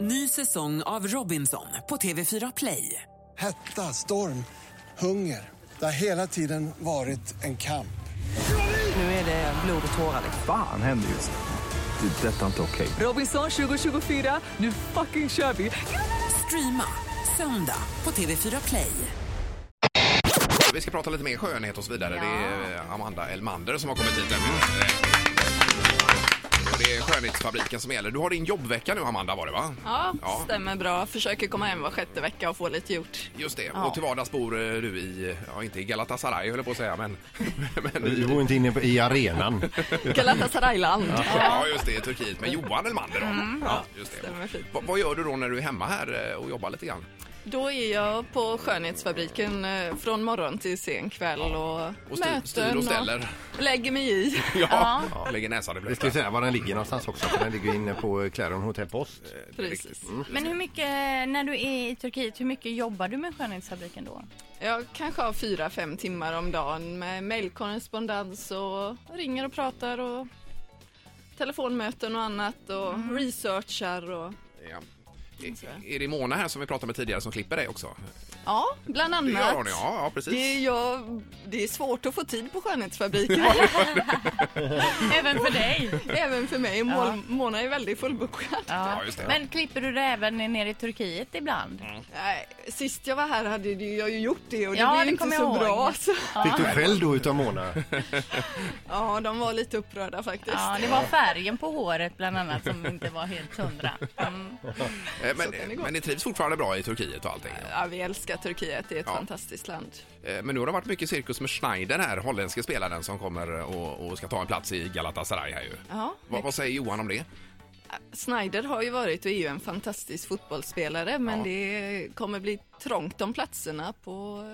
Ny säsong av Robinson på TV4 Play. Hetta, storm, hunger. Det har hela tiden varit en kamp. Nu är det blod och tårar. Fan händer just nu. Det. är Detta är inte okej. Robinson 2024, nu fucking kör vi! Streama söndag på TV4 Play. Vi ska prata lite mer skönhet och så vidare. Det är eh, Amanda Elmander som har kommit hit. nämligen. Och Det är skönhetsfabriken som gäller. Du har din jobbvecka nu Amanda var det va? Ja, stämmer bra. Försöker komma hem var sjätte vecka och få lite gjort. Just det. Och till vardags bor eh, du i, ja inte i Galatasaray höll jag på att säga men... men Du i, bor inte inne på, i arenan. Galatasarayland. ja just det, i Turkiet med Johan Elmander då. ja, just det. Mm, stämmer fint. Va, vad gör du då när du är hemma här eh, och jobbar lite grann? Då är jag på skönhetsfabriken eh, från morgon till sen kväll och, Och styr- möten styr och ställer. lägger mig i. Ja. Lägger näsan i Vi ska blöta. ju säga var den ligger någonstans också. För den ligger inne på eh, Clarion Hotel Post. Precis. Mm. Men hur mycket, när du är i Turkiet, hur mycket jobbar du med skönhetsfabriken då? Jag kanske har fyra, fem timmar om dagen med mejlkorrespondens och ringer och pratar och telefonmöten och annat och Mm. researchar och Ja. Är- Är det Mona här som vi pratade med tidigare som klipper dig också? ja, bland Det annat. gör hon ja, ja precis. Det är, jag, det är svårt att få tid på skönhetsfabriken. Även för dig? Även för mig. Mål, Mona är väldigt fullbokad. Ja, just det. Men klipper du det även nere i Turkiet ibland? Nej, Sist jag var här hade ju- jag ju gjort det och det Ja, blev det inte kommer så jag ihåg. bra. Så. Fick du skäll då utav Mona? Ja, de var lite upprörda faktiskt. Ja, det var färgen på håret bland annat som inte var helt hundra. Mm. Eh, Så kan det Men, gå. men ni trivs fortfarande bra i Turkiet och allting? Ja, vi älskar Turkiet, det är ett Ja. fantastiskt land. Eh, Men nu har det varit mycket cirkus med Schneider här, holländske spelaren som kommer och, och ska ta en plats i Galatasaray här ju. Ja. Vad, vad säger Johan om det? Snyder har ju varit och är ju en fantastisk fotbollsspelare men Ja. det kommer bli trångt om platserna på,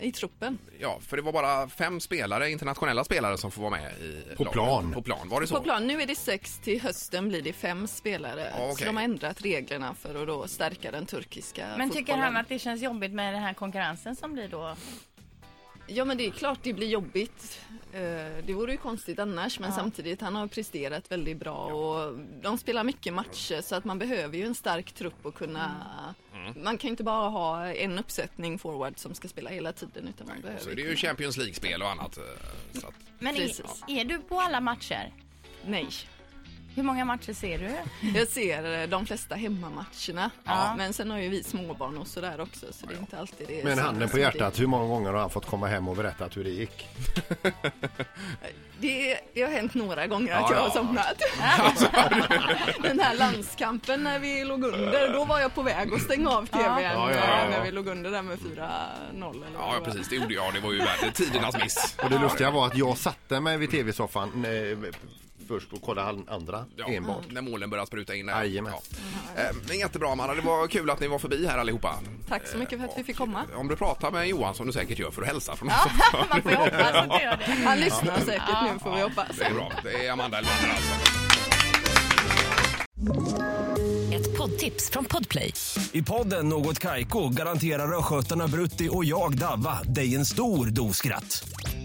eh, i truppen. Ja, för det var bara fem spelare, internationella spelare som får vara med i På laget. plan. På plan, var det så? På plan, nu är det sex, till hösten blir det fem spelare. Ja, okej. Så de har ändrat reglerna för att då stärka den turkiska Men fotbollen. tycker han att det känns jobbigt med den här konkurrensen som blir då? Ja men det är klart det blir jobbigt. Eh, Det vore ju konstigt annars men samtidigt han har presterat väldigt bra och de spelar mycket matcher så att man behöver ju en stark trupp och kunna Mm. Man kan ju inte bara ha en uppsättning forward som ska spela hela tiden utan man behöver Så det är ju Champions League-spel och annat. eh, Så att, Men är, Precis. är du på alla matcher? Nej. Hur många matcher ser du? Jag ser eh, de flesta hemmamatcherna Ja. men sen har ju vi småbarn och sådär också så det är inte alltid det är Men så- handen på hjärtat, hur många gånger har han fått komma hem och berättat hur det gick? Det, det har hänt några gånger att Ja, jag har ja. somnat. Den här landskampen när vi låg under, då var jag på väg att stänga av tvn Ja, ja, ja, ja. när vi låg under där med 4-0 eller vad ja, det var. precis. Det gjorde jag. Det var ju värd- tidernas miss. Och det lustiga var att jag satte mig vid tv-soffan eh, först och kollade han- andra Ja, enbart. När målen börjar spruta in. där. Jajamän. Eh, Men jättebra, Amanda. Det var kul att ni var förbi här allihopa. Tack så mycket för att vi fick komma. Om du pratar med Johan, som du säkert gör, för att hälsa från oss. Man får ju hoppas att du gör det. Han lyssnar säkert nu får vi hoppas. Det är bra. Det är Amanda Elmander alltså. Ett poddtips från Podplay. I podden Något Kaiko garanterar östgötarna Brutti och jag, Davva, dig en stor dos skratt.